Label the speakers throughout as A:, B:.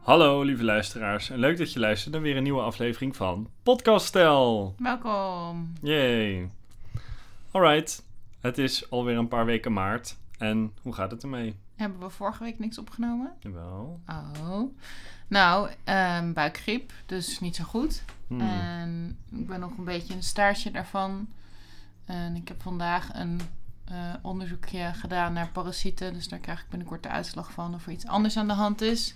A: Hallo lieve luisteraars en leuk dat je luistert naar weer een nieuwe aflevering van Podcast Stel.
B: Welkom.
A: Yay. Alright, het is alweer een paar weken maart en hoe gaat het ermee?
B: Hebben we vorige week niks opgenomen?
A: Jawel.
B: Oh. Nou, ehm, buikgriep, dus niet zo goed.
A: Hmm.
B: En ik ben nog een beetje een staartje daarvan. En ik heb vandaag een eh, onderzoekje gedaan naar parasieten. Dus daar krijg ik binnenkort de uitslag van of er iets anders aan de hand is.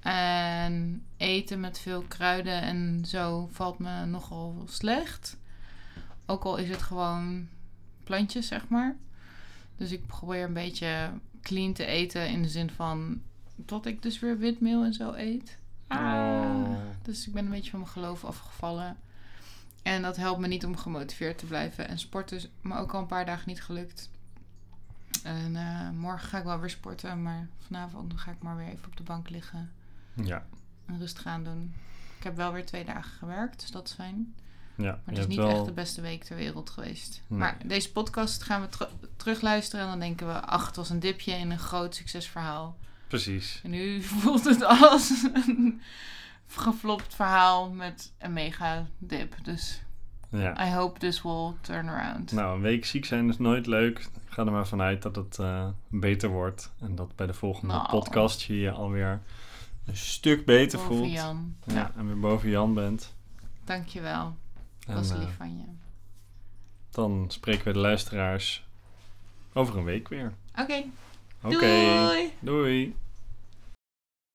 B: En eten met veel kruiden en zo valt me nogal slecht. Ook al is het gewoon plantjes, zeg maar. Dus ik probeer een beetje clean te eten in de zin van tot ik dus weer witmeel en zo eet. Ah.
A: Oh.
B: Dus ik ben een beetje van mijn geloof afgevallen. En dat helpt me niet om gemotiveerd te blijven. En sporten is me ook al een paar dagen niet gelukt. En eh, morgen ga ik wel weer sporten, maar vanavond ga ik maar weer even op de bank liggen
A: Ja,
B: en rustig aan doen. Ik heb wel weer twee dagen gewerkt, dus dat is fijn.
A: ja.
B: Maar
A: je
B: het is
A: hebt
B: niet
A: wel-
B: echt de beste week ter wereld geweest.
A: Nee.
B: Maar deze podcast gaan we teru- terugluisteren en dan denken we... ach, het was een dipje in een groot succesverhaal.
A: Precies.
B: En nu voelt het als een geflopt verhaal met een mega dip. Dus
A: Ja.
B: I hope this will turn around.
A: Nou, een week ziek zijn is nooit leuk. Ik ga er maar vanuit dat het eh, beter wordt en dat bij de volgende
B: Nou.
A: podcast je je alweer een stuk beter
B: Boven
A: voelt.
B: Jan.
A: Ja,
B: Nou,
A: en weer boven Jan bent.
B: dankjewel.
A: En,
B: Dat was
A: eh,
B: lief van je.
A: Dan spreken we de luisteraars over een week weer.
B: Oké,
A: Oké.
B: doei!
A: Doei.